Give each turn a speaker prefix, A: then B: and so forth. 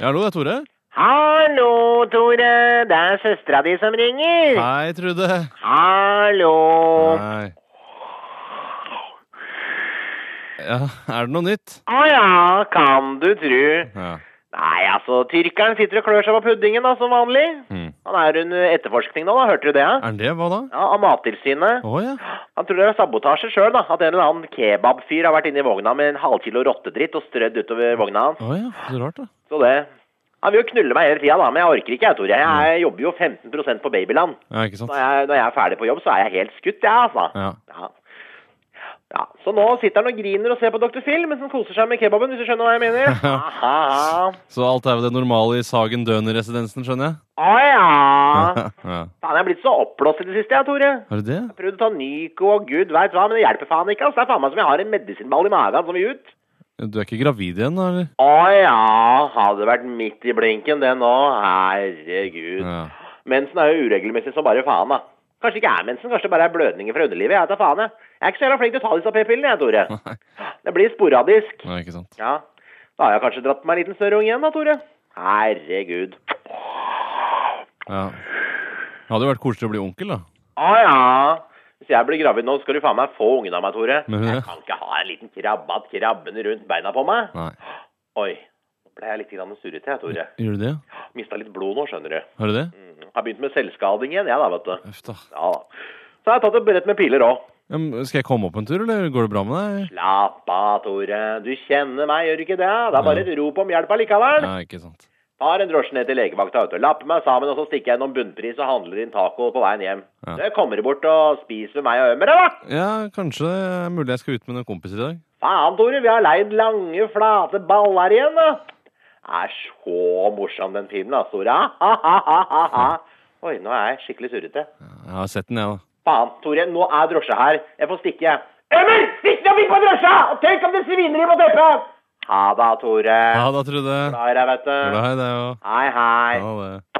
A: Ja, hallo, det er Tore.
B: Hallo, Tore. Det er søstera di som ringer.
A: Hei, Trude.
B: Hallo.
A: Hei. Ja, er det noe nytt?
B: Å ja, kan du tru.
A: Ja.
B: Nei, altså, tyrkeren sitter og klør seg på puddingen, da, som vanlig.
A: Mm.
B: Han er under etterforskning nå, da. Hørte du det? Ja,
A: Er det det? Hva da?
B: ja Av Mattilsynet.
A: Å ja.
B: Han tror det er sabotasje sjøl, da. At en eller annen kebabfyr har vært inni vogna med en halvkilo rottedritt og strødd utover vogna hans.
A: Å ja. Så rart, da.
B: Så det Han vil jo knulle meg hele tida, da, men jeg orker ikke, jeg, Tore. Jeg jobber jo 15 på Babyland.
A: Ja, ikke sant?
B: Når jeg, når jeg er ferdig på jobb, så er jeg helt skutt, jeg, altså.
A: Ja.
B: Ja. ja. Så nå sitter han og griner og ser på Dr. Phil mens han koser seg med kebaben, hvis du skjønner hva jeg mener?
A: Ja.
B: Aha.
A: Så alt er jo det normale i Sagen Døner-residensen, skjønner jeg?
B: Å ja.
A: ja.
B: Faen, jeg er blitt så oppblåst i det siste, jeg, Tore.
A: Er det det?
B: Prøvd å ta Nyco og gud veit hva, men det hjelper faen ikke. Altså. Det er faen meg som jeg har en medisinball i magen som vil ut.
A: Du er ikke gravid igjen, da? eller?
B: Å ja. Hadde vært midt i blinken, det nå. Herregud.
A: Ja.
B: Mensen er jo uregelmessig som bare faen, da. Kanskje ikke er mensen, kanskje det bare er blødninger fra underlivet. Jeg tar faen, jeg. Jeg er ikke så jævla flink til å ta disse p-pillene, jeg, Tore.
A: Nei.
B: Det blir sporadisk.
A: Nei, ikke sant.
B: Ja. Da har jeg kanskje dratt på meg en liten snørrung igjen, da, Tore. Herregud.
A: Ja. Det hadde jo vært koselig å bli onkel, da.
B: Å ja. Hvis jeg blir gravid nå, skal du faen meg få ungen av meg, Tore.
A: Men-
B: Jeg kan ikke ha en liten krabbat krabbende rundt beina på meg.
A: Nei.
B: Oi. Nå ble jeg litt grann surrete, jeg, Tore.
A: Gjør du det? ja?
B: Mista litt blod nå, skjønner du.
A: Har du det?
B: Mm. Har begynt med selvskading igjen, jeg, da, vet du.
A: Uff, da.
B: Ja da. Så har jeg tatt et brett med piler òg.
A: Ja, men skal jeg komme opp en tur, eller går det bra med deg?
B: Slapp av, Tore. Du kjenner meg, gjør du ikke det? Det er bare et rop om hjelp allikevel.
A: Nei, ikke sant.
B: Tar en drosje ned til legevakta, vet du. Lapper meg sammen, og så stikker jeg innom Bunnpris og handler inn taco på veien hjem.
A: Ja.
B: Du kommer bort og spiser med meg og Ømer, da!
A: Ja, kanskje det er mulig jeg skal ut med noen kompiser i dag.
B: Faen, Tore, vi har leid lange, flate baller igjen, da! Er så morsom, den filmen, altså, Tore. Ha, ha, ha, ha, ha. Oi, nå er jeg skikkelig surrete.
A: Jeg har sett den, jeg, da.
B: Faen, Tore, nå er drosja her. Jeg får stikke. Ømer! Stikk nå vink på drosja! Og tenk om det sviner i på teppet! Ha da, Tore.
A: Ja da, Trude.
B: Da er jeg, vet du.
A: Glad i deg òg.
B: Hei, hei.
A: Ha det.